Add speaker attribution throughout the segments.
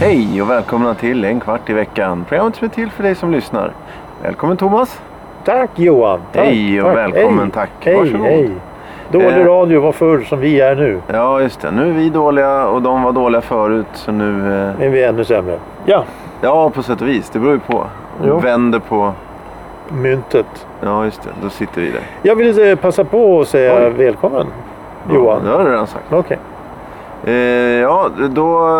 Speaker 1: Hej och välkomna till En kvart i veckan. Programmet som är till för dig som lyssnar. Välkommen Thomas.
Speaker 2: Tack Johan! Tack,
Speaker 1: Hej och
Speaker 2: tack.
Speaker 1: välkommen,
Speaker 2: Hej,
Speaker 1: tack.
Speaker 2: Hej,
Speaker 1: Varsågod.
Speaker 2: hej. Dålig
Speaker 1: Eh.
Speaker 2: radio var förr som vi är nu,
Speaker 1: Ja, just det. Nu är vi dåliga och de var dåliga förut. Så nu... Eh,
Speaker 2: men vi är ännu sämre. Ja,
Speaker 1: ja, på sätt och vis. Det beror ju på.
Speaker 2: Jo.
Speaker 1: Vänder på...
Speaker 2: myntet.
Speaker 1: Ja, just det. Då sitter vi där.
Speaker 2: Jag ville eh, passa på att säga
Speaker 1: Oj.
Speaker 2: välkommen
Speaker 1: Ja,
Speaker 2: Johan.
Speaker 1: det har du redan sagt.
Speaker 2: Okej.
Speaker 1: Eh, ja, då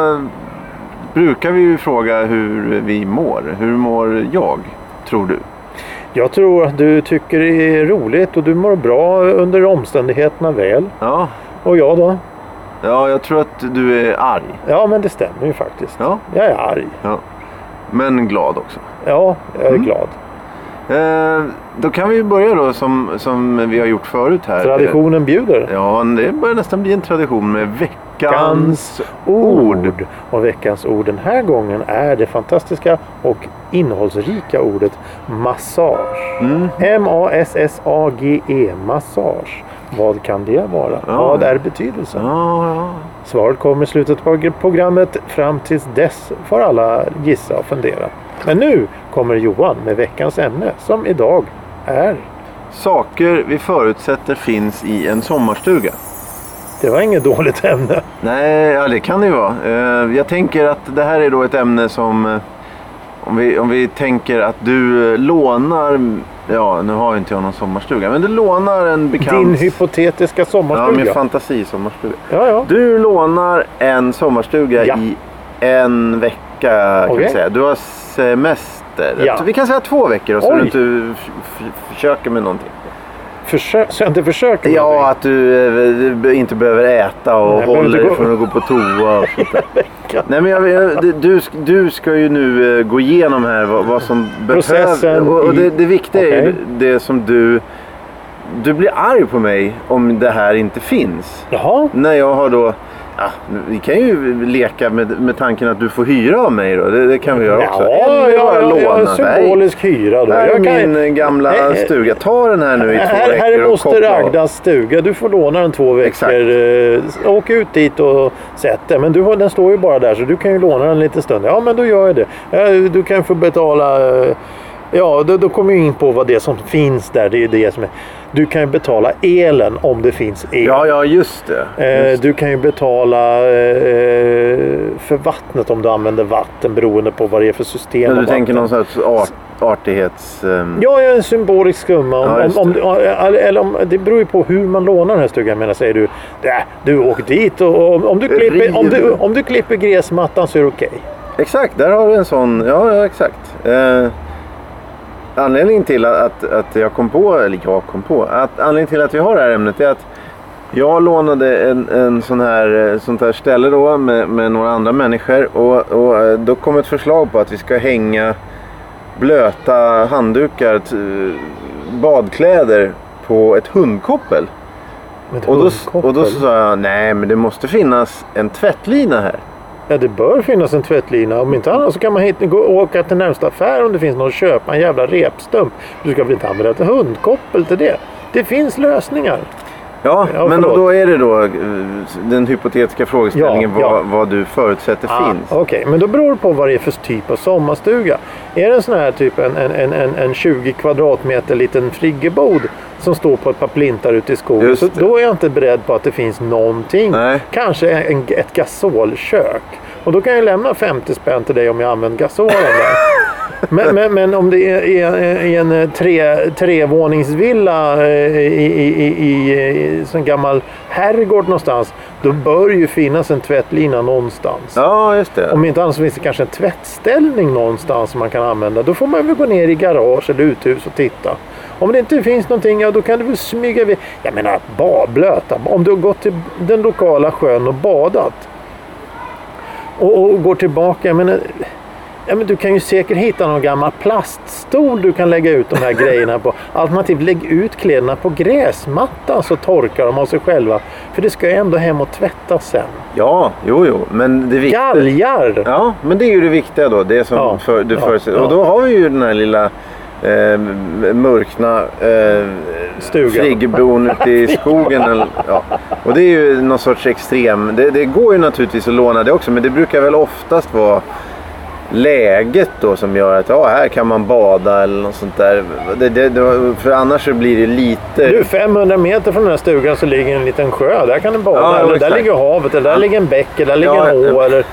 Speaker 1: brukar vi ju fråga hur vi mår. Hur mår jag, tror du?
Speaker 2: Jag tror att du tycker det är roligt och du mår bra under omständigheterna väl.
Speaker 1: Ja,
Speaker 2: Och jag då?
Speaker 1: ja jag tror att du är arg.
Speaker 2: Ja, men det stämmer ju faktiskt.
Speaker 1: Ja,
Speaker 2: Jag är arg.
Speaker 1: ja. Men glad också.
Speaker 2: Ja, jag är
Speaker 1: Mm.
Speaker 2: glad.
Speaker 1: Eh, då kan vi ju börja då som, som vi har gjort förut här.
Speaker 2: Traditionen bjuder.
Speaker 1: Ja, det börjar nästan bli en tradition med veckans
Speaker 2: Veckans ord. Och veckans ord den här gången är det fantastiska och innehållsrika ordet massage.
Speaker 1: Mm.
Speaker 2: M-A-S-S-A-G-E, E, massage. Vad kan det vara?
Speaker 1: Ja.
Speaker 2: Vad är betydelsen?
Speaker 1: Ja, ja.
Speaker 2: Svaret kommer i slutet på programmet. Fram tills dess får alla gissa och fundera. Men nu kommer Johan med veckans ämne som idag är...
Speaker 1: Saker vi förutsätter finns i en sommarstuga.
Speaker 2: Det var inget dåligt ämne.
Speaker 1: Nej, ja, det kan det ju vara. Eh, Jag tänker att det här är då ett ämne som... eh, Om vi, om vi tänker att du eh, lånar... Ja, nu har ju inte jag någon sommarstuga. Men du lånar en bekant...
Speaker 2: Din hypotetiska
Speaker 1: Ja, min
Speaker 2: sommarstuga.
Speaker 1: fantasisommarstuga.
Speaker 2: ja, ja.
Speaker 1: Du lånar en sommarstuga
Speaker 2: Ja.
Speaker 1: i en vecka kan vi
Speaker 2: Okej.
Speaker 1: säga. Du har semester.
Speaker 2: Ja.
Speaker 1: Vi kan säga två veckor då, så
Speaker 2: Oj.
Speaker 1: du inte f- f- försöker med någonting.
Speaker 2: Försö- så jag inte försöker med
Speaker 1: Ja,
Speaker 2: dig.
Speaker 1: att du eh, du be- inte behöver äta och
Speaker 2: Nej, jag behöver
Speaker 1: håller
Speaker 2: inte
Speaker 1: dig
Speaker 2: gå-
Speaker 1: från att gå på toa och sånt där. Nej, men jag, jag, du- du, sk- du ska ju nu eh, gå igenom här vad, vad som behövs.
Speaker 2: Processen
Speaker 1: Och, och
Speaker 2: i-
Speaker 1: det, det viktiga är ju
Speaker 2: Okej.
Speaker 1: det som du... Du blir arg på mig om det här inte finns.
Speaker 2: Jaha,
Speaker 1: När jag har då... Ja, vi kan ju leka med, med tanken att du får hyra av mig då. Det, det kan vi göra också.
Speaker 2: ja, ja,
Speaker 1: bara
Speaker 2: ja,
Speaker 1: låna.
Speaker 2: ja, symbolisk hyra då.
Speaker 1: Nej, här är
Speaker 2: Jag kan-
Speaker 1: min eh, gamla
Speaker 2: Nej, eh,
Speaker 1: stuga. Ta den här nu i två
Speaker 2: Här,
Speaker 1: veckor
Speaker 2: här är
Speaker 1: och
Speaker 2: moster
Speaker 1: koppla av.
Speaker 2: Agdas stuga. Du får låna den två
Speaker 1: Exakt.
Speaker 2: veckor. Eh, Åk ut dit och sätt den. Men du, har- den står ju bara där så du kan ju låna den lite stund. Ja, men då gör jag det. Eh, Du kan få betala... eh, Ja, då, då kommer jag in på vad det är som finns där. Det är ju det som är. Du kan ju betala elen om det finns el.
Speaker 1: Ja, ja, just det.
Speaker 2: Eh, du kan ju betala eh, för vattnet om du använder vatten beroende på vad det är för system.
Speaker 1: Men
Speaker 2: av
Speaker 1: du
Speaker 2: vatten.
Speaker 1: tänker någon sorts art, artighets... ehm,
Speaker 2: Ja, ja, en symbolisk summa. Om,
Speaker 1: Ja, just
Speaker 2: om, om, eller- eller om, det beror ju på hur man lånar den här stugan. Menar, säger du, "Nä, du åk dit och och om, om, du klipper, om, du,
Speaker 1: River.
Speaker 2: om du klipper gräsmattan så är det okej.
Speaker 1: Exakt, där har du en sån. Ja, ja exakt. Eh, anledningen till att, att jag kom på, eller jag kom på, att anledningen till att vi har det här ämnet är att jag lånade en, en sån här, eh, sånt här ställe då med, med några andra människor och, och eh, då kom ett förslag på att vi ska hänga blöta handdukar, t- badkläder på ett hundkoppel.
Speaker 2: Men ett
Speaker 1: Och då,
Speaker 2: hundkoppel?
Speaker 1: och då sa jag, nej men det måste finnas en tvättlina här.
Speaker 2: Ja, det bör finnas en tvättlina. Om inte annat så kan man hit, gå, åka till närmsta affär om det finns någon och köpa en jävla repstump. Du ska väl inte använda ett hundkoppel till det? Det finns lösningar.
Speaker 1: Ja,
Speaker 2: Ja,
Speaker 1: men
Speaker 2: förlåt.
Speaker 1: då är det då eh, den hypotetiska frågeställningen
Speaker 2: Ja, ja.
Speaker 1: Vad, vad du förutsätter
Speaker 2: Ah,
Speaker 1: finns.
Speaker 2: Okej, men då beror det på vad det är för typ av sommarstuga. Är det en sån här typ en, en, en, en, en 20 kvadratmeter liten friggebod som står på ett par plintar ute i skogen.
Speaker 1: Just
Speaker 2: Så
Speaker 1: det.
Speaker 2: då är jag inte beredd på att det finns någonting.
Speaker 1: Nej.
Speaker 2: Kanske en, ett gasolkök. Och då kan jag lämna 50 spänn till dig om jag använder gasolen där. Men, men, men om det är i en, i en tre, trevåningsvilla eh, i, i, i, i, i sån gammal herrgård någonstans. Då bör ju finnas en tvättlina någonstans.
Speaker 1: Ja, just det.
Speaker 2: Om inte annars så finns det kanske en tvättställning någonstans som man kan använda. Då får man väl gå ner i garage eller uthus och titta. Om det inte finns någonting, ja då kan du väl smyga vid. Jag menar, ba, blöta. Om du har gått till den lokala sjön och badat och, och går tillbaka. Jag menar, Ja, men du kan ju säkert hitta någon gammal plaststol du kan lägga ut de här grejerna på. Alternativt lägg ut kläderna på gräsmattan så torkar de av sig själva. För det ska ju ändå hem och tvättas sen.
Speaker 1: Ja, jo, jo. Men det viktiga...
Speaker 2: Galgar!
Speaker 1: Ja, men det är ju det viktiga då. Det som
Speaker 2: Ja,
Speaker 1: för, du
Speaker 2: ja,
Speaker 1: förutsätter.
Speaker 2: ja.
Speaker 1: Och då har vi ju den här lilla eh, mörkna eh,
Speaker 2: Stugan.
Speaker 1: friggebon ute i skogen. Eller, ja. Och det är ju någon sorts extrem... Det, det går ju naturligtvis att låna det också, men det brukar väl oftast vara läget då som gör att ja, här kan man bada eller något sånt där. Det, det, det, för annars så blir det lite...
Speaker 2: Du, 500 meter från den här stugan så ligger en liten sjö. Där kan du bada.
Speaker 1: Ja, ja,
Speaker 2: eller där
Speaker 1: exakt.
Speaker 2: ligger havet. Eller där ligger en bäck. Eller där ligger
Speaker 1: Ja,
Speaker 2: en å.
Speaker 1: ja.
Speaker 2: Eller,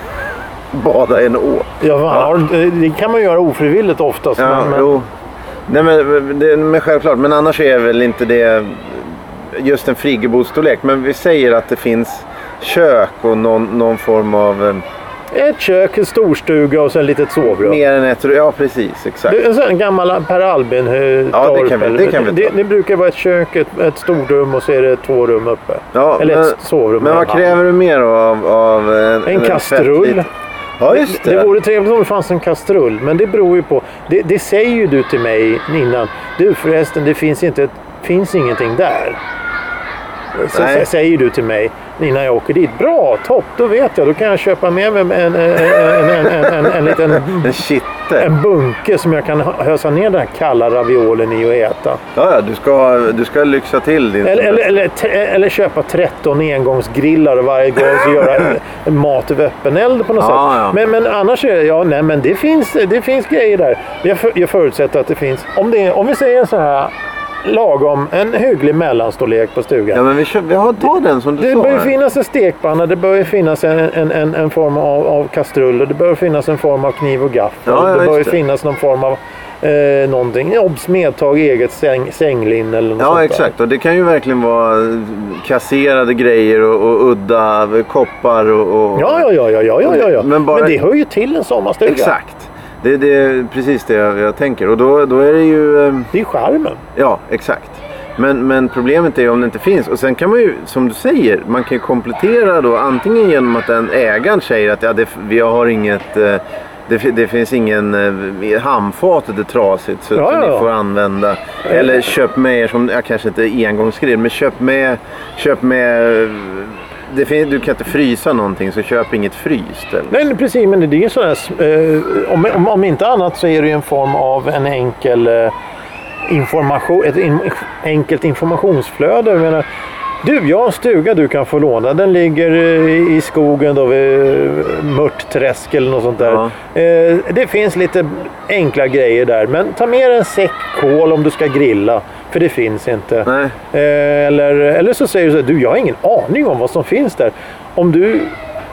Speaker 1: Bada i en å.
Speaker 2: ja, man har, det kan man göra ofrivilligt oftast.
Speaker 1: Ja,
Speaker 2: men, men,
Speaker 1: jo. Nej, men, det, men självklart. Men annars är väl inte det just en friggebodsstorlek. Men vi säger att det finns kök och någon, någon form av... eh,
Speaker 2: Ett kök, en storstuga och sen ett litet sovrum.
Speaker 1: Mer än ett rum. Ja, precis. Exakt.
Speaker 2: Det är en sån här gammal Per albin eh,
Speaker 1: Ja, det
Speaker 2: torp,
Speaker 1: kan vi-
Speaker 2: eller-
Speaker 1: det kan vi
Speaker 2: det,
Speaker 1: ta.
Speaker 2: det brukar vara ett kök, ett, ett storrum och så är det två rum uppe.
Speaker 1: Ja,
Speaker 2: eller
Speaker 1: men-
Speaker 2: ett sovrum.
Speaker 1: Men
Speaker 2: och
Speaker 1: vad
Speaker 2: en hall.
Speaker 1: kräver du mer då av, av eh, en,
Speaker 2: En kastrull.
Speaker 1: fettbit? Ja, just det.
Speaker 2: Det vore trevligt om det fanns en kastrull, men det beror ju på. Det, det säger ju du till mig innan. Du förresten, det finns, inte, ett- finns ingenting där. Så
Speaker 1: Nej.
Speaker 2: sä- säger du till mig innan jag åker dit. Bra, topp, då vet jag. Då kan jag köpa med mig en, en, en, en, en, en, en liten
Speaker 1: En kitte.
Speaker 2: en bunke som jag kan hö- hösa ner den här kalla raviolen i och äta.
Speaker 1: Ja, ja, du ska, du ska lyxa till din...
Speaker 2: Eller, eller, eller, t- eller köpa 13 engångsgrillar och varje gång så göra mat över öppen eld på något
Speaker 1: Ja,
Speaker 2: sätt.
Speaker 1: ja.
Speaker 2: Men, men annars är det, ja, nej, men det finns, det finns grejer där. Jag, för, jag förutsätter att det finns. Om, det, är- om vi säger så här lagom, en hygglig mellanstorlek på stugan.
Speaker 1: Ja, men vi, kör, vi har, ta den som du
Speaker 2: Det
Speaker 1: sa.
Speaker 2: bör ju
Speaker 1: här.
Speaker 2: finnas en stekpanna, det bör ju finnas en, en, en, en form av, av kastrull och det bör finnas en form av kniv och gaffel.
Speaker 1: Ja, ja,
Speaker 2: det bör ju
Speaker 1: just det.
Speaker 2: finnas någon form av eh, någonting. Obs! Medtag eget säng, sänglinne eller något sånt
Speaker 1: Ja,
Speaker 2: där.
Speaker 1: exakt. Och det kan ju verkligen vara kasserade grejer och, och udda koppar och... och...
Speaker 2: Ja, ja, ja, ja, ja, ja, ja, ja. Men,
Speaker 1: Men bara-
Speaker 2: det hör ju till en sommarstuga.
Speaker 1: Exakt. Det, det är precis det jag, jag tänker. Och då, då är det ju... eh,
Speaker 2: Det är charmen.
Speaker 1: Ja, exakt. Men, men problemet är ju om det inte finns. Och sen kan man ju, som du säger, man kan ju komplettera då antingen genom att den ägaren säger att ja, det, vi har inget... eh, Det, fi- det finns ingen... eh, Handfatet är trasigt så
Speaker 2: Ja,
Speaker 1: att
Speaker 2: ja, ja.
Speaker 1: ni får använda. Eller köp med er som... Ja, kanske inte engångsgrill, men köp med... Köp med eh, det fin, du kan inte frysa någonting så köp inget fryst. Eller?
Speaker 2: Nej, nej, precis. Men det är ju sådär... Eh, om, om, om inte annat så är det ju en form av en enkel eh, information, ett in, enkelt informationsflöde. Jag menar, du, jag har en stuga du kan få låna. Den ligger eh, i skogen då vid eh, Mörtträsk eller något sånt där. Eh, det finns lite enkla grejer där. Men ta med dig en säck kol om du ska grilla. För det finns inte.
Speaker 1: Nej.
Speaker 2: Eh, Eller, eller så säger du så här, du jag har ingen aning om vad som finns där. Om du,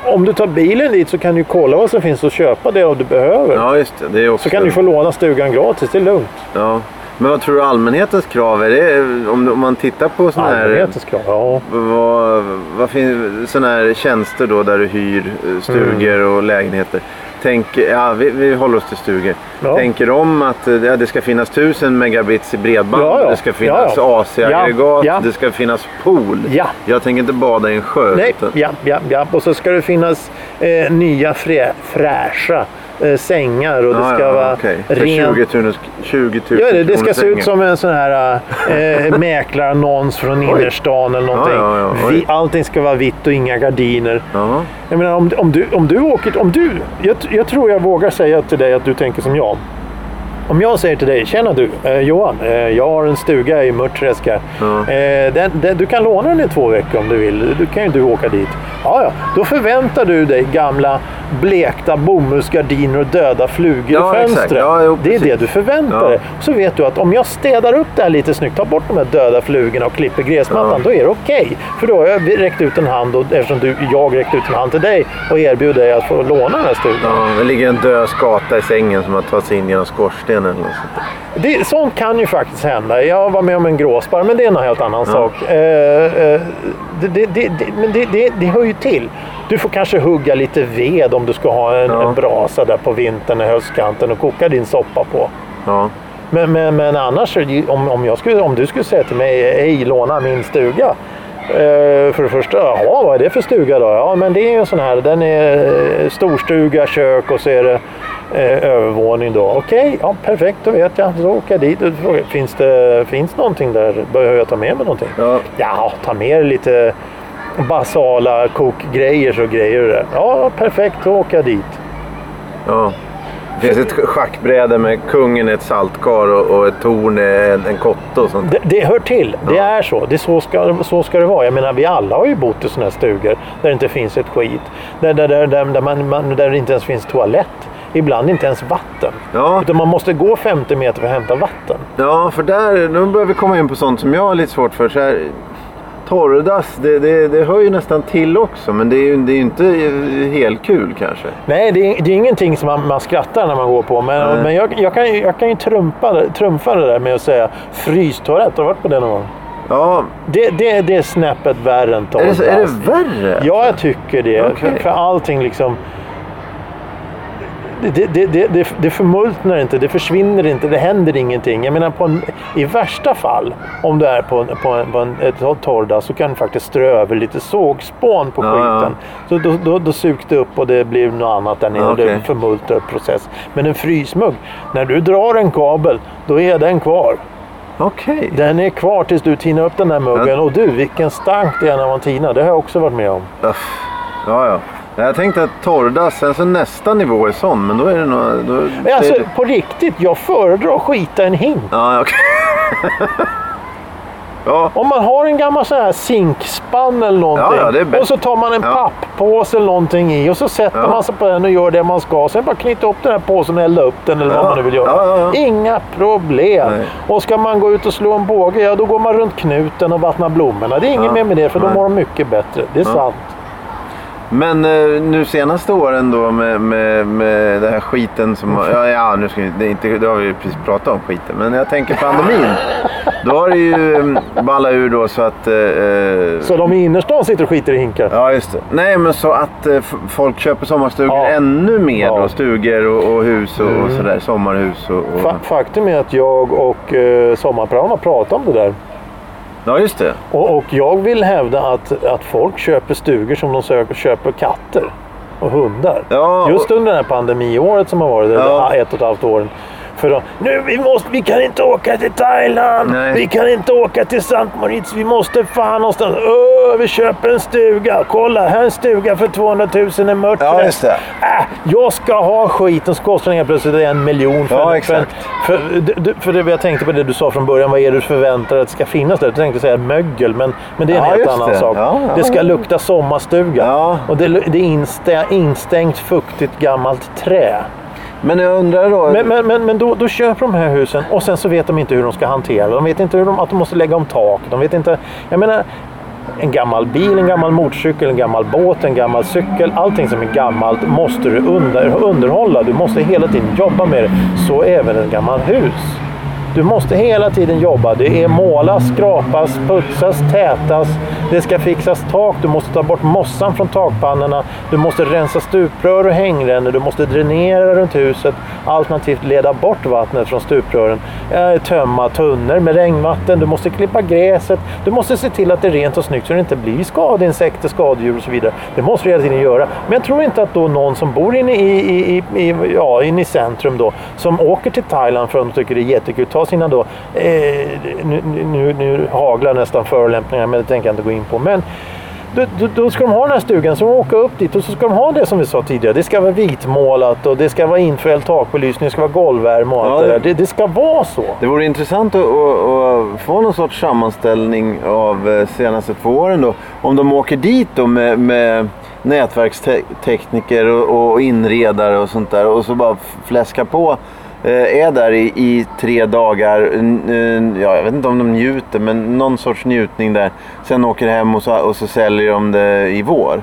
Speaker 2: om du tar bilen dit så kan du kolla vad som finns och köpa det om du behöver.
Speaker 1: Ja, just det. det är också
Speaker 2: Så kan du få låna stugan gratis, det är lugnt.
Speaker 1: Ja. Men vad tror du allmänhetens krav är? Det är om, om man tittar på sådana här,
Speaker 2: Allmänhetens krav, ja.
Speaker 1: vad, vad finns, såna här tjänster då där du hyr eh, stugor
Speaker 2: Mm.
Speaker 1: och lägenheter. Tänk, ja, vi, vi håller oss till stugor.
Speaker 2: Ja.
Speaker 1: Tänker de att eh, ja, det ska finnas 1000 megabits i bredband,
Speaker 2: Ja, ja.
Speaker 1: det ska finnas
Speaker 2: Ja, ja.
Speaker 1: AC-aggregat,
Speaker 2: Ja, ja.
Speaker 1: det ska finnas pool.
Speaker 2: Ja.
Speaker 1: Jag tänker inte bada i en sjö.
Speaker 2: Nej,
Speaker 1: utan-
Speaker 2: ja, ja, ja. Och så ska det finnas eh, nya frä, fräscha eh, sängar och det
Speaker 1: Ja,
Speaker 2: ska
Speaker 1: ja,
Speaker 2: vara
Speaker 1: okej. För
Speaker 2: rent.
Speaker 1: 20 000, 20 000
Speaker 2: Ja, det, det ska se
Speaker 1: kronor
Speaker 2: ut som en sån här eh, mäklarannons från innerstan eller någonting.
Speaker 1: Ja, ja, ja, oj.
Speaker 2: Vi, allting ska vara vitt och inga gardiner.
Speaker 1: Ja.
Speaker 2: Jag menar om, om, du, om du åker... Om du, jag, jag tror jag vågar säga till dig att du tänker som jag. Om jag säger till dig, tjena du eh, Johan, eh, jag har en stuga i Mörtträsk här.
Speaker 1: Ja.
Speaker 2: Eh, den, den, du kan låna den i två veckor om du vill. Du kan ju du åka dit. Ja, ja. Då förväntar du dig gamla blekta bomullsgardiner och döda flugor
Speaker 1: Ja,
Speaker 2: i
Speaker 1: exakt.
Speaker 2: fönstren.
Speaker 1: Ja, jo,
Speaker 2: det är
Speaker 1: precis.
Speaker 2: det du förväntar
Speaker 1: Ja.
Speaker 2: dig. Så vet du att om jag städar upp det här lite snyggt, tar bort de här döda flugorna och klipper gräsmattan,
Speaker 1: Ja.
Speaker 2: då är det okej. För då har jag räckt ut en hand, och, eftersom du, jag räckte ut en hand till dig och erbjuder dig att få låna den här stugan.
Speaker 1: Ja, det ligger en död skata i sängen som har tagit sig in genom skorstenen. Eller något sånt.
Speaker 2: Det, sånt kan ju faktiskt hända. Jag var med om en gråsparv, men det är en helt annan sak. Eh, eh, det, det, det, det- men det, det, det hör ju till. Du får kanske hugga lite ved om du ska ha en,
Speaker 1: Ja.
Speaker 2: en brasa där på vintern i höstkanten och koka din soppa på.
Speaker 1: Ja.
Speaker 2: Men, men, men annars, är det ju- om, om, jag skulle, om du skulle säga till mig, hej låna min stuga. Eh, För det första, jaha, vad är det för stuga då? Ja, men det är ju en sån här, den är eh, storstuga, kök och så är det eh, övervåning då. Okej, ja, perfekt, då vet jag. Så åker jag dit och frågar, finns det finns någonting där? Behöver jag ta med mig någonting?
Speaker 1: Ja.
Speaker 2: Ja, ta med dig lite basala kokgrejer så grejer det. Ja, perfekt, då åker jag dit.
Speaker 1: Ja. Det finns ett schackbräde med kungen i ett saltkar och, och ett torn är en, en kotte och sånt.
Speaker 2: Det, det hör till. Det är så. Det är så, ska, så ska det vara. Jag menar, vi alla har ju bott i sådana här stugor där det inte finns ett skit. Där, där, där, där, där, man, man, där det inte ens finns toalett. Ibland inte ens vatten.
Speaker 1: Ja.
Speaker 2: Utan man måste gå 50 meter för att hämta vatten.
Speaker 1: Ja, för där, nu börjar vi komma in på sånt som jag har lite svårt för. Så här, torrdass, det, det, det hör ju nästan till också, men det är ju det är ju inte helt kul kanske.
Speaker 2: Nej, det är, det är ingenting som man, man skrattar när man går på. Men,
Speaker 1: Nej.
Speaker 2: men jag, jag kan ju, jag kan ju trumpa, det- trumfa det där med att säga frystoalett. Har du varit på det någon gång?
Speaker 1: Ja,
Speaker 2: Det, det, det är snäppet värre än
Speaker 1: är det, så-
Speaker 2: torrdass.
Speaker 1: är det värre?
Speaker 2: Ja, jag tycker det.
Speaker 1: Okej.
Speaker 2: För, för allting liksom... Det, det, det, det, det förmultnar inte, det försvinner inte, det händer ingenting. Jag menar, på en, i värsta fall, om du är på, en, på, en, på en, ett torrdass så kan du faktiskt strö över lite sågspån på
Speaker 1: Ja,
Speaker 2: skiten. Så då, då, då sugs det upp och det blir något annat där nere.
Speaker 1: Ja,
Speaker 2: och Det
Speaker 1: okej.
Speaker 2: förmultrar process. Men en frysmugg, när du drar en kabel, då är den kvar.
Speaker 1: Okej.
Speaker 2: Den är kvar tills du tinar upp den där muggen.
Speaker 1: Ja.
Speaker 2: Och du, vilken stank det är när man tinar. Det har jag också varit med om.
Speaker 1: Uff. Ja, ja. Nej, Jag tänkte att torrdass, sen så nästa nivå är sån, men då är det nog... Då,
Speaker 2: Men alltså
Speaker 1: det-
Speaker 2: på riktigt, jag föredrar att skita i en hink.
Speaker 1: Ja, okej. ja,
Speaker 2: Om man har en gammal sån här zinkspann eller någonting
Speaker 1: Ja, ja, det är bäst.
Speaker 2: och så tar man en
Speaker 1: Ja.
Speaker 2: papppåse eller någonting i och så sätter
Speaker 1: Ja.
Speaker 2: man sig på den och gör det man ska. Sen bara knyta upp den här påsen och elda upp den eller vad
Speaker 1: Ja.
Speaker 2: man nu vill göra.
Speaker 1: Ja, ja, ja.
Speaker 2: Inga problem.
Speaker 1: Nej.
Speaker 2: Och ska man gå ut och slå en båge, ja då går man runt knuten och vattnar blommorna. Det är inget
Speaker 1: Ja.
Speaker 2: mer med det för då
Speaker 1: Nej.
Speaker 2: mår de mycket bättre. Det är sant.
Speaker 1: men eh, nu senaste åren då med, med, med den här skiten som... har- Ja, ja nu ska vi, det, är inte, det har vi ju precis pratat om skiten, men jag tänker pandemin. Då har det ju eh, ballat ur då så att... eh, eh,
Speaker 2: Så de i innerstan sitter och skiter i hinkar.
Speaker 1: Ja, just det. Nej, men så att eh, f- folk köper sommarstugor
Speaker 2: Ja.
Speaker 1: ännu mer
Speaker 2: Ja. Mm.
Speaker 1: då. Stugor och, och hus och, och sådär. Sommarhus och... och...
Speaker 2: Fa- Faktum är att jag och eh, sommarpraon har pratat om det där.
Speaker 1: Ja, just det.
Speaker 2: Och, och jag vill hävda att, att folk köper stugor som de söker, köper katter och hundar.
Speaker 1: Ja,
Speaker 2: Just
Speaker 1: och-
Speaker 2: under det här pandemiåret som har varit,
Speaker 1: Ja.
Speaker 2: eller ett och ett halvt åren. För då, nu, vi, måste, vi kan inte åka till Thailand!
Speaker 1: Nej.
Speaker 2: Vi kan inte åka till Sankt Moritz! Vi måste fan någonstans! Öh, vi köper en stuga! Kolla, här är en stuga för 200 000 i mörkret!
Speaker 1: Ja, just det.
Speaker 2: Äh, jag ska ha skiten så kostar den helt plötsligt en miljon. För,
Speaker 1: Ja,
Speaker 2: för-
Speaker 1: exakt.
Speaker 2: För, du- du- för det, jag tänkte på det du sa från början, vad är det du förväntar dig att ska finnas där? Jag tänkte säga mögel, men, men det är en
Speaker 1: Ja,
Speaker 2: helt
Speaker 1: just
Speaker 2: annan
Speaker 1: det.
Speaker 2: sak.
Speaker 1: Ja, ja.
Speaker 2: Det ska lukta sommarstuga.
Speaker 1: Ja.
Speaker 2: Och det, lu- det är instä, instängt, fuktigt, gammalt trä.
Speaker 1: Men jag undrar då...
Speaker 2: Men, men, men, men då, då köper de här husen och sen så vet de inte hur de ska hantera det. De vet inte hur de, att de måste lägga om tak. De vet inte... Jag menar, en gammal bil, en gammal motorcykel, en gammal båt, en gammal cykel. Allting som är gammalt måste du under, underhålla. Du måste hela tiden jobba med det. Så även ett gammalt hus. Du måste hela tiden jobba. Det är målas, skrapas, putsas, tätas. Det ska fixas tak. Du måste ta bort mossan från takpannorna. Du måste rensa stuprör och hängrännor. Du måste dränera runt huset. Alternativt leda bort vattnet från stuprören. Eh, Tömma tunnor med regnvatten. Du måste klippa gräset. Du måste se till att det är rent och snyggt så det inte blir skadeinsekter, skadedjur och så vidare. Det måste du hela tiden göra. Men jag tror inte att då någon som bor inne i, i, i, i, ja, inne i centrum då, som åker till Thailand för att de tycker det är jättekul, ta sina då, eh, nu, nu- nu, nu haglar nästan förolämpningar men det tänker jag inte gå in på. Men då, då, då ska de ha den här stugan, så de åker upp dit och så ska de ha det som vi sa tidigare. Det ska vara vitmålat och det ska vara infälld takbelysning, det ska vara golvvärme och allt
Speaker 1: Ja,
Speaker 2: det
Speaker 1: det-
Speaker 2: där. Det, det ska vara så.
Speaker 1: Det vore intressant att, att, att få någon sorts sammanställning av eh, senaste två åren då. Om de åker dit då med, med nätverkstekniker och, och inredare och sånt där och så bara fläskar på. eh, Är där i, i tre dagar, n- n- ja, jag vet inte om de njuter men någon sorts njutning där. Sen åker hem och så, och så säljer de det i vår.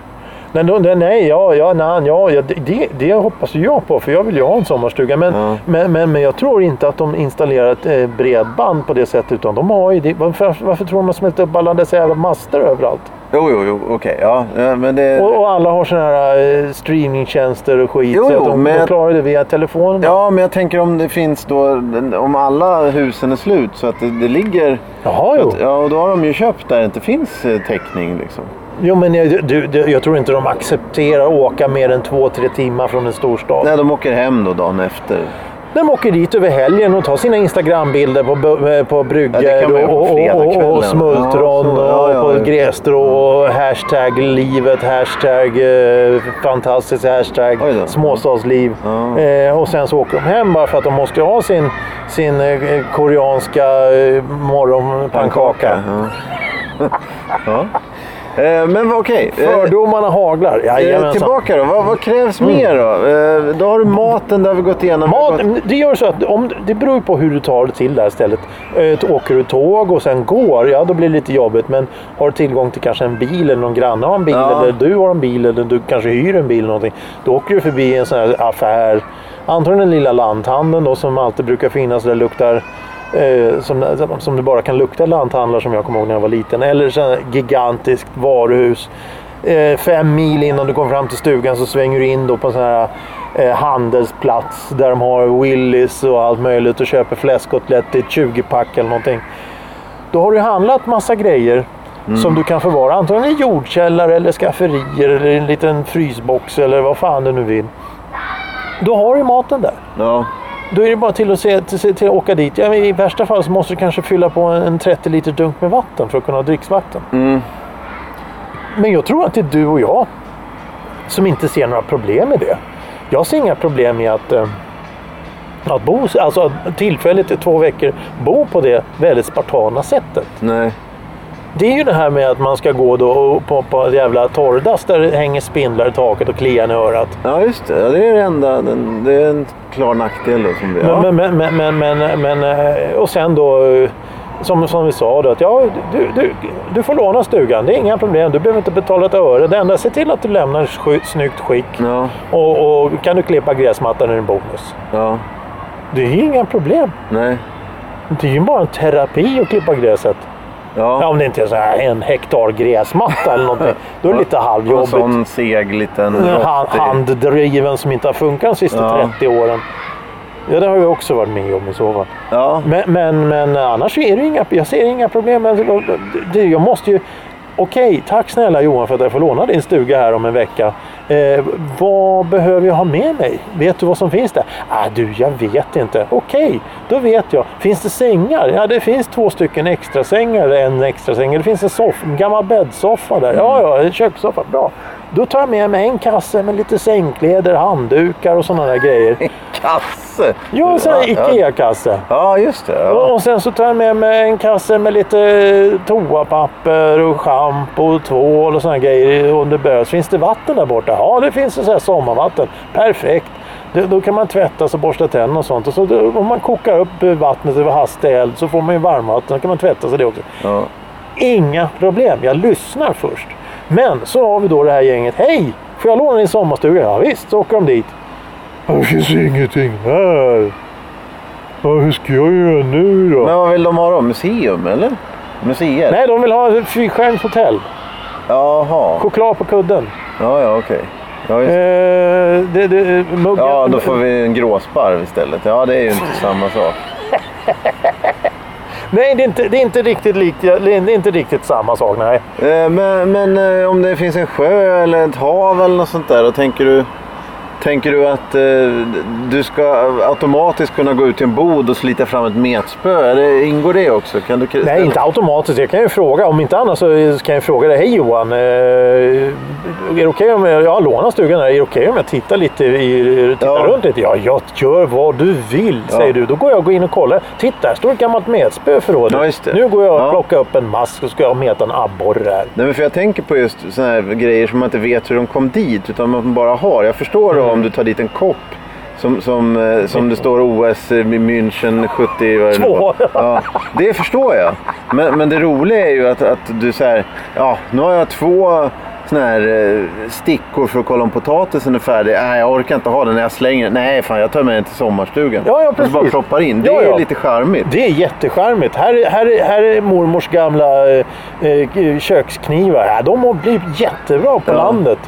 Speaker 2: Nej, då- nej, nej, ja, ja, nej, ja, ja det, det- det hoppas ju jag på för jag vill ju ha en sommarstuga. Men,
Speaker 1: Ja.
Speaker 2: men, men, men jag tror inte att de installerar ett eh, bredband på det sättet. Utan de har ju det. Varför, varför tror de att de smält upp alla dessa jävla master överallt?
Speaker 1: Jo, jo, jo, okej. ja, ja, men det...
Speaker 2: Och, och alla har såna här eh, streamingtjänster och skit.
Speaker 1: Jo,
Speaker 2: så
Speaker 1: jo,
Speaker 2: att de,
Speaker 1: men-
Speaker 2: de klarar det via telefonen.
Speaker 1: Ja, men jag tänker om det finns då... Om alla husen är slut så att det, det ligger...
Speaker 2: Jaha, jo.
Speaker 1: Att, ja, och då har de ju köpt där det inte finns eh, täckning liksom.
Speaker 2: jo men jag, du, du, jag tror inte de accepterar att åka mer än två, tre timmar från en storstad.
Speaker 1: Nej, de åker hem då dagen efter.
Speaker 2: De åker dit över helgen och tar sina Instagrambilder på, bu- eh, på
Speaker 1: Ja, det
Speaker 2: bryggor
Speaker 1: kan man göra på
Speaker 2: och, och, och,
Speaker 1: fredagskvällen.
Speaker 2: och smultron
Speaker 1: Ja, så- ja, ja,
Speaker 2: och
Speaker 1: ja. Mm.
Speaker 2: på grässtrå och hashtag livet, hashtag eh, fantastiskt, hashtag
Speaker 1: Oj då.
Speaker 2: småstadsliv.
Speaker 1: Ja.
Speaker 2: Eh, och sen så åker de hem bara för att de måste ha sin, sin eh, koreanska eh, morgonpannkaka.
Speaker 1: Ja. ja. Eh, men vad- okej. eh,
Speaker 2: Fördomarna haglar.
Speaker 1: Eh,
Speaker 2: Jajamensan.
Speaker 1: tillbaka då. Vad, vad krävs
Speaker 2: Mm.
Speaker 1: mer då? Eh, då har du maten där vi gått igenom.
Speaker 2: Mat, det gör så att om, det beror ju på hur du tar dig till det här stället. Eh, åker du tåg och sen går, ja då blir det lite jobbigt. Men har du tillgång till kanske en bil eller någon granne har en bil
Speaker 1: Ja.
Speaker 2: eller du har en bil eller du kanske hyr en bil eller någonting. Då åker du förbi en sån här affär. Antagligen den lilla lanthandeln då som alltid brukar finnas där det luktar eh, som, som det bara kan lukta lanthandlar som jag kommer ihåg när jag var liten. Eller så här gigantiskt varuhus. Eh, fem mil innan du kommer fram till stugan så svänger du in då på en sån här eh, handelsplats där de har Willys och allt möjligt och köper fläskkotlett i ett 20-pack eller någonting. Då har du handlat massa grejer som du kan förvara. Antagligen i jordkällare eller skafferier eller i en liten frysbox eller vad fan du nu vill. Då har du maten där.
Speaker 1: Ja.
Speaker 2: Då är det bara till att, se, till, till, till att åka dit. Ja, men I värsta fall så måste du kanske fylla på en, en 30 liter dunk med vatten för att kunna ha dricksvatten.
Speaker 1: Mm.
Speaker 2: Men jag tror att det är du och jag som inte ser några problem med det. Jag ser inga problem med att, eh, att bo, alltså att tillfälligt i två veckor bo på det väldigt spartana sättet.
Speaker 1: Nej.
Speaker 2: Det är ju det här med att man ska gå då och på, på ett jävla torrdass där det hänger spindlar i taket och kliar i örat.
Speaker 1: Ja, just det. Ja, det är det enda. Den, det är en klar nackdel då som det ja.
Speaker 2: Men, men, men, men, men, men, eh, och sen då, eh, som, som vi sa då, att ja, du, du, du får låna stugan, det är inga problem, du behöver inte betala ett öre. Det enda, se till att du lämnar i sky- snyggt skick
Speaker 1: Ja,
Speaker 2: och, och kan du klippa gräsmattan är det en bonus.
Speaker 1: ja.
Speaker 2: Det är ju inga problem.
Speaker 1: Nej.
Speaker 2: Det är ju bara en terapi att klippa gräset. Ja,
Speaker 1: Ja.
Speaker 2: om det inte är så här en hektar gräsmatta eller någonting, då är det lite
Speaker 1: En
Speaker 2: halvjobbigt.
Speaker 1: sån seg liten
Speaker 2: Den här
Speaker 1: rottig.
Speaker 2: handdriven som inte har funkat de sista
Speaker 1: Ja.
Speaker 2: 30 åren. Ja, det har jag också varit med om i så fall.
Speaker 1: Ja.
Speaker 2: Men, men, men annars är det inga, jag ser inga problem. Men det, jag måste ju... Okej, tack snälla Johan för att jag får låna din stuga här om en vecka. Eh, vad behöver jag ha med mig? Vet du vad som finns där? Ah, du, jag vet inte. Okej, då vet jag. Finns det sängar? Ja, det finns två stycken extra sängar eller en extra säng. Det finns en, soff, en gammal bäddsoffa där. Ja, ja, en kökssoffa. Bra. Då tar jag med mig en kasse med lite sängkläder, handdukar och sådana där grejer.
Speaker 1: Kasse!
Speaker 2: Jo, en sån här
Speaker 1: Ja, ja.
Speaker 2: IKEA-kasse.
Speaker 1: Ja, just det.
Speaker 2: Och
Speaker 1: Ja.
Speaker 2: och sen så tar jag med mig en kasse med lite eh, toapapper och schampo och tvål och sådana grejer om det behövs. Finns det vatten där borta? Ja, det finns det så här sommarvatten. Perfekt. Då, då kan man tvätta sig, borsta tänderna och sånt. Och så, då- om man kokar upp eh, vattnet över hastig eld så får man ju varmvatten. Då kan man tvätta sig det också.
Speaker 1: Ja.
Speaker 2: Inga problem. Jag lyssnar först. Men så har vi då det här gänget. Hej! Får jag låna din sommarstuga? Ja, visst, så åker de dit. Det finns ingenting här. Ja, hur ska jag göra nu då?
Speaker 1: Men vad vill de ha då? Museum eller? Museer?
Speaker 2: Nej, de vill ha ett fyrstjärnigt hotell.
Speaker 1: Jaha.
Speaker 2: Choklad på kudden.
Speaker 1: Ja, ja, okej. Ja, just...
Speaker 2: Eh, det, det, muggen.
Speaker 1: ja, då får vi en gråsparv istället. Ja, det är ju inte samma sak.
Speaker 2: Nej, det är, inte, det, är inte riktigt likt, det är inte riktigt samma sak. Nej.
Speaker 1: Eh, Men, men eh, om det finns en sjö eller ett hav eller något sånt där, då tänker du, tänker du att eh, du ska automatiskt kunna gå ut till en bod och slita fram ett metspö? Eller ingår det också? Kan du
Speaker 2: Nej, inte automatiskt. Jag kan ju fråga. Om inte annars så kan jag fråga dig. Hej Johan, eh, är det okej om jag, jag har lånat stugan här. Är det okej om jag tittar lite i, tittar
Speaker 1: Ja.
Speaker 2: runt lite? Ja, jag gör vad du vill, säger du. Då går jag in och kollar. Titta, här står ett gammalt metspö i förrådet.
Speaker 1: Ja, just det.
Speaker 2: Nu går jag och
Speaker 1: Ja.
Speaker 2: plockar upp en mask och ska jag meta en abborre här.
Speaker 1: Nej, men för jag tänker på just såna här grejer som man inte vet hur de kom dit, utan man bara har. Jag förstår
Speaker 2: Mm.
Speaker 1: då om du tar dit en kopp som, som, eh, som det står OS i München 70... Vad det, nu var.
Speaker 2: Två.
Speaker 1: ja, det förstår jag. Men, men det roliga är ju att, att du säger ja, nu har jag två såna här eh, stickor för att kolla om potatisen är färdig. Nej, jag orkar inte ha den. Jag slänger den. Nej, fan jag tar med den till sommarstugan.
Speaker 2: Ja, ja,
Speaker 1: och så bara
Speaker 2: precis.
Speaker 1: ploppar in. Det
Speaker 2: Ja,
Speaker 1: är
Speaker 2: ja.
Speaker 1: ju lite charmigt.
Speaker 2: Det är jättecharmigt. Här, är- här, är- här är mormors gamla eh, eh, köksknivar. Ja, de har blivit jättebra på
Speaker 1: Ja.
Speaker 2: landet.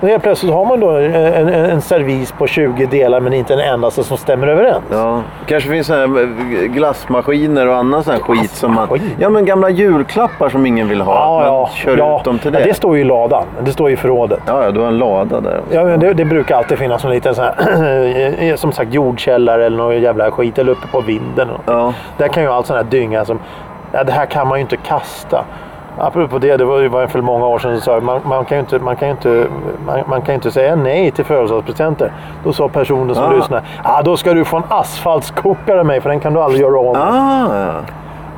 Speaker 2: Och helt plötsligt har man då en, en, en servis på 20 delar men inte en endaste som stämmer överens.
Speaker 1: Ja, kanske finns såna här eh, glassmaskiner och annan sån här skit som man...
Speaker 2: Glassmaskin?
Speaker 1: Ja, men gamla julklappar som ingen vill ha.
Speaker 2: Ja,
Speaker 1: man
Speaker 2: ja,
Speaker 1: kör
Speaker 2: ja.
Speaker 1: ut dem till
Speaker 2: Ja,
Speaker 1: det.
Speaker 2: det står ju i ladan. Det står ju i förrådet.
Speaker 1: Ja, ja, du har en lada där.
Speaker 2: Ja, men det, det brukar alltid finnas en liten sån här, som sagt jordkällare eller någon jävla skit eller uppe på vinden. Och
Speaker 1: Ja.
Speaker 2: Där kan ju all sån här dynga som, ja, det här kan man ju inte kasta. Apropå det, det var ju var för många år sedan, så sa jag, man, man kan ju inte, man kan ju inte, man, man kan ju inte säga nej till födelsedagspresenter. Då sa personen som
Speaker 1: Ah.
Speaker 2: lyssnade, ah, då ska du få en asfaltskokare av mig för den kan du aldrig göra om.
Speaker 1: Ah, ja.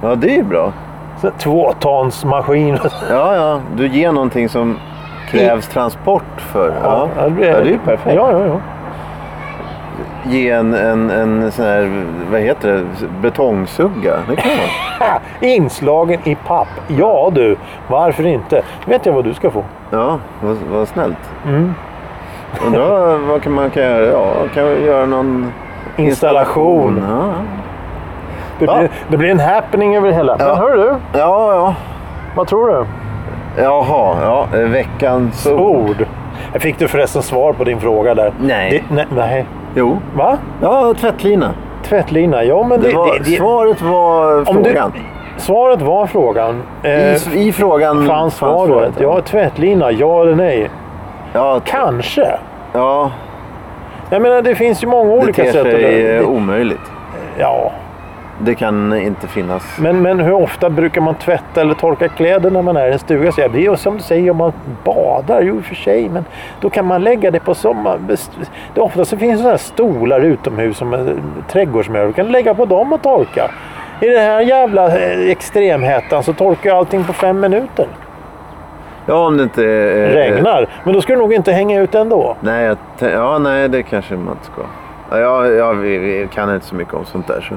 Speaker 1: ja, det är ju bra.
Speaker 2: Så, Tvåtonsmaskin.
Speaker 1: Ja, ja. Du ger någonting som krävs transport för. Ja, ja. det är ju perfekt.
Speaker 2: Ja, ja, ja.
Speaker 1: Ge en, en, en sån här, vad heter det, betongsugga. Det kan man.
Speaker 2: Ha! Inslagen i papp. Ja du, varför inte? Vet jag vad du ska få?
Speaker 1: Ja, vad, vad snällt.
Speaker 2: Mm.
Speaker 1: Undrar vad kan man kan göra? Ja, kan vi göra någon
Speaker 2: Installation.
Speaker 1: Ja,
Speaker 2: Det
Speaker 1: Ja.
Speaker 2: blir, det blir en happening över det hela. Men hör du,
Speaker 1: ja. ja.
Speaker 2: vad tror du?
Speaker 1: Jaha, ja. eh, Veckans ord.
Speaker 2: Ord. Jag fick du förresten svar på din fråga där?
Speaker 1: Nej.
Speaker 2: Det, nej, nej.
Speaker 1: Jo.
Speaker 2: Va?
Speaker 1: Ja, tvättlina.
Speaker 2: Tvättlina? Ja, men det...
Speaker 1: Det var,
Speaker 2: det, det,
Speaker 1: svaret var
Speaker 2: om du-
Speaker 1: frågan.
Speaker 2: svaret var frågan. Eh,
Speaker 1: I, I frågan
Speaker 2: fanns svaret? Ja, tvättlina. Ja eller nej?
Speaker 1: ja, t-
Speaker 2: Kanske.
Speaker 1: ja,
Speaker 2: Jag menar, det finns ju många
Speaker 1: det
Speaker 2: olika
Speaker 1: ter
Speaker 2: sätt. att-
Speaker 1: sig eh,
Speaker 2: det,
Speaker 1: omöjligt.
Speaker 2: ja,
Speaker 1: Det kan inte finnas.
Speaker 2: Men, men hur ofta brukar man tvätta eller torka kläder när man är i en stuga? Så jag blir ju som du säger om man badar, jo i och för sig, men då kan man lägga det på sommar... Det ofta så finns sådana här stolar utomhus som eh, trädgårdsmöbler. Du kan lägga på dem och torka. I den här jävla eh, extremhettan så torkar ju allting på fem minuter.
Speaker 1: Ja, om det inte... eh,
Speaker 2: Regnar. Men då ska du nog inte hänga ut ändå.
Speaker 1: Nej, jag tän- ja, nej, det kanske man inte ska. Ja, jag, jag, vi, vi kan inte så mycket om sånt där. Så,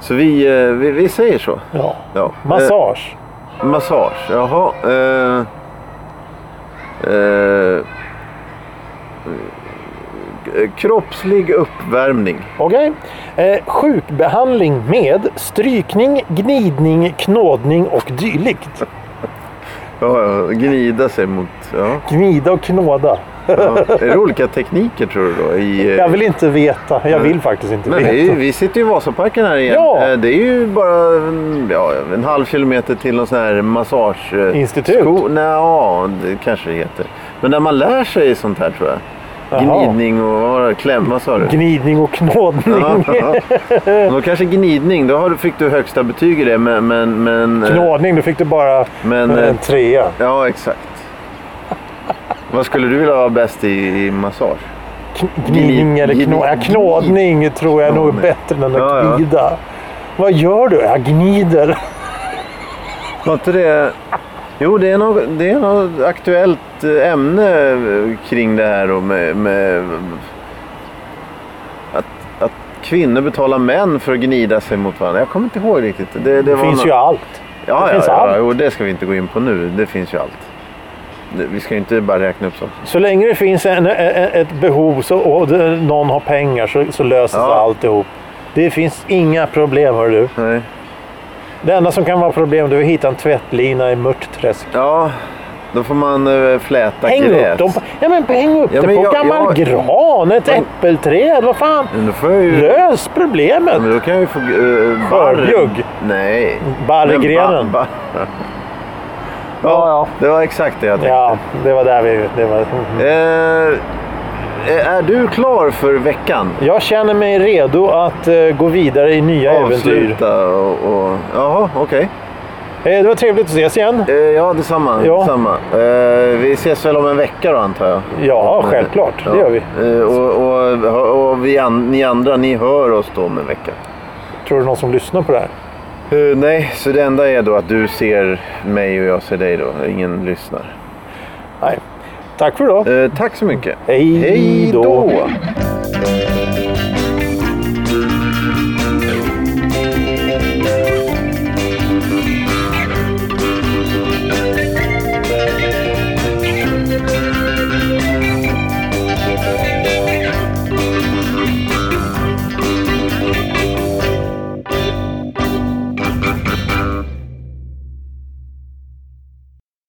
Speaker 1: så vi, eh, vi, vi säger så.
Speaker 2: Ja.
Speaker 1: Ja.
Speaker 2: Massage.
Speaker 1: Eh, massage, jaha. Eh, eh, eh, kroppslig uppvärmning.
Speaker 2: Okej. Eh, sjukbehandling med strykning, gnidning, knådning och dylikt.
Speaker 1: Ja, ja, gnida sig mot... Ja.
Speaker 2: Gnida och knåda.
Speaker 1: Ja. Är det olika tekniker tror du då? I, eh,
Speaker 2: Jag vill inte veta. Jag vill faktiskt inte
Speaker 1: men
Speaker 2: veta.
Speaker 1: vi, vi sitter ju i Vasaparken här igen.
Speaker 2: Ja.
Speaker 1: Eh, Det är ju bara en, ja, en halv kilometer till någon sån här massage... eh,
Speaker 2: Institut?
Speaker 1: sko- Nej, ja, det kanske det heter. Men där man lär sig sånt här tror jag.
Speaker 2: Jaha.
Speaker 1: Gnidning och vad var det? klämma sa du?
Speaker 2: Gnidning och knådning.
Speaker 1: Ja, ja. Men Då kanske gnidning, då har du- fick du högsta betyg i det. Men, men, men, eh,
Speaker 2: knådning, då fick du bara
Speaker 1: Men, eh,
Speaker 2: en trea.
Speaker 1: Ja, exakt. Vad skulle du vilja vara bäst i, i massage?
Speaker 2: Kn- Gnidning eller
Speaker 1: gnid-
Speaker 2: knå... Ja, knådning tror jag nog är
Speaker 1: Knådning.
Speaker 2: bättre än
Speaker 1: Ja, ja.
Speaker 2: att gnida. Vad gör du? Jag gnider.
Speaker 1: Var inte det... Jo, det är, något, det är något aktuellt eh, ämne eh, kring det här då med, med att, att kvinnor betalar män för att gnida sig mot varandra. Jag kommer inte ihåg riktigt. Det, det,
Speaker 2: Det
Speaker 1: var
Speaker 2: finns
Speaker 1: något-
Speaker 2: ju allt.
Speaker 1: ja, ja,
Speaker 2: det finns
Speaker 1: ja,
Speaker 2: allt.
Speaker 1: Jo, det ska vi inte gå in på nu. Det finns ju allt. Det- Vi ska ju inte bara räkna upp saker.
Speaker 2: Så länge det finns en, e- e- ett behov så, och det- någon har pengar så, så löser sig
Speaker 1: Ja.
Speaker 2: alltihop. Det finns inga problem, hör du.
Speaker 1: Nej.
Speaker 2: Det enda som kan vara problem det är att hitta en tvättlina i Mörtträsk.
Speaker 1: Ja, då får man eh, fläta
Speaker 2: Häng
Speaker 1: gräs.
Speaker 2: upp dem på, ja, men häng upp
Speaker 1: Ja,
Speaker 2: det
Speaker 1: men
Speaker 2: på
Speaker 1: jag-
Speaker 2: gammal
Speaker 1: jag-
Speaker 2: gran, ett
Speaker 1: Men-
Speaker 2: äppelträd, vad fan.
Speaker 1: Men då får jag ju...
Speaker 2: Lös problemet.
Speaker 1: Men då kan jag ju få... Äh,
Speaker 2: Skörbjugg.
Speaker 1: Nej.
Speaker 2: Barrgrenen.
Speaker 1: Men ba- barr. ja,
Speaker 2: ja.
Speaker 1: det var exakt det jag tänkte.
Speaker 2: Ja, det var där vi... Det var, mhm.
Speaker 1: Eh, är du klar för veckan?
Speaker 2: jag känner mig redo att eh, gå vidare i nya äventyr.
Speaker 1: Avsluta och... och jaha, okej.
Speaker 2: Eh, det var trevligt att ses igen.
Speaker 1: Eh, ja, detsamma.
Speaker 2: Ja.
Speaker 1: detsamma. Eh, vi ses väl om en vecka då antar jag?
Speaker 2: Ja, självklart. Det
Speaker 1: Ja.
Speaker 2: gör vi.
Speaker 1: Eh, och och, och vi an, ni andra, ni hör oss då om en vecka?
Speaker 2: Tror du någon som lyssnar på det här?
Speaker 1: Eh, nej, så det enda är då att du ser mig och jag ser dig då. Ingen lyssnar.
Speaker 2: Nej. Tack för idag.
Speaker 1: Eh, tack så mycket.
Speaker 2: Hej
Speaker 1: Hej
Speaker 2: då.
Speaker 1: då.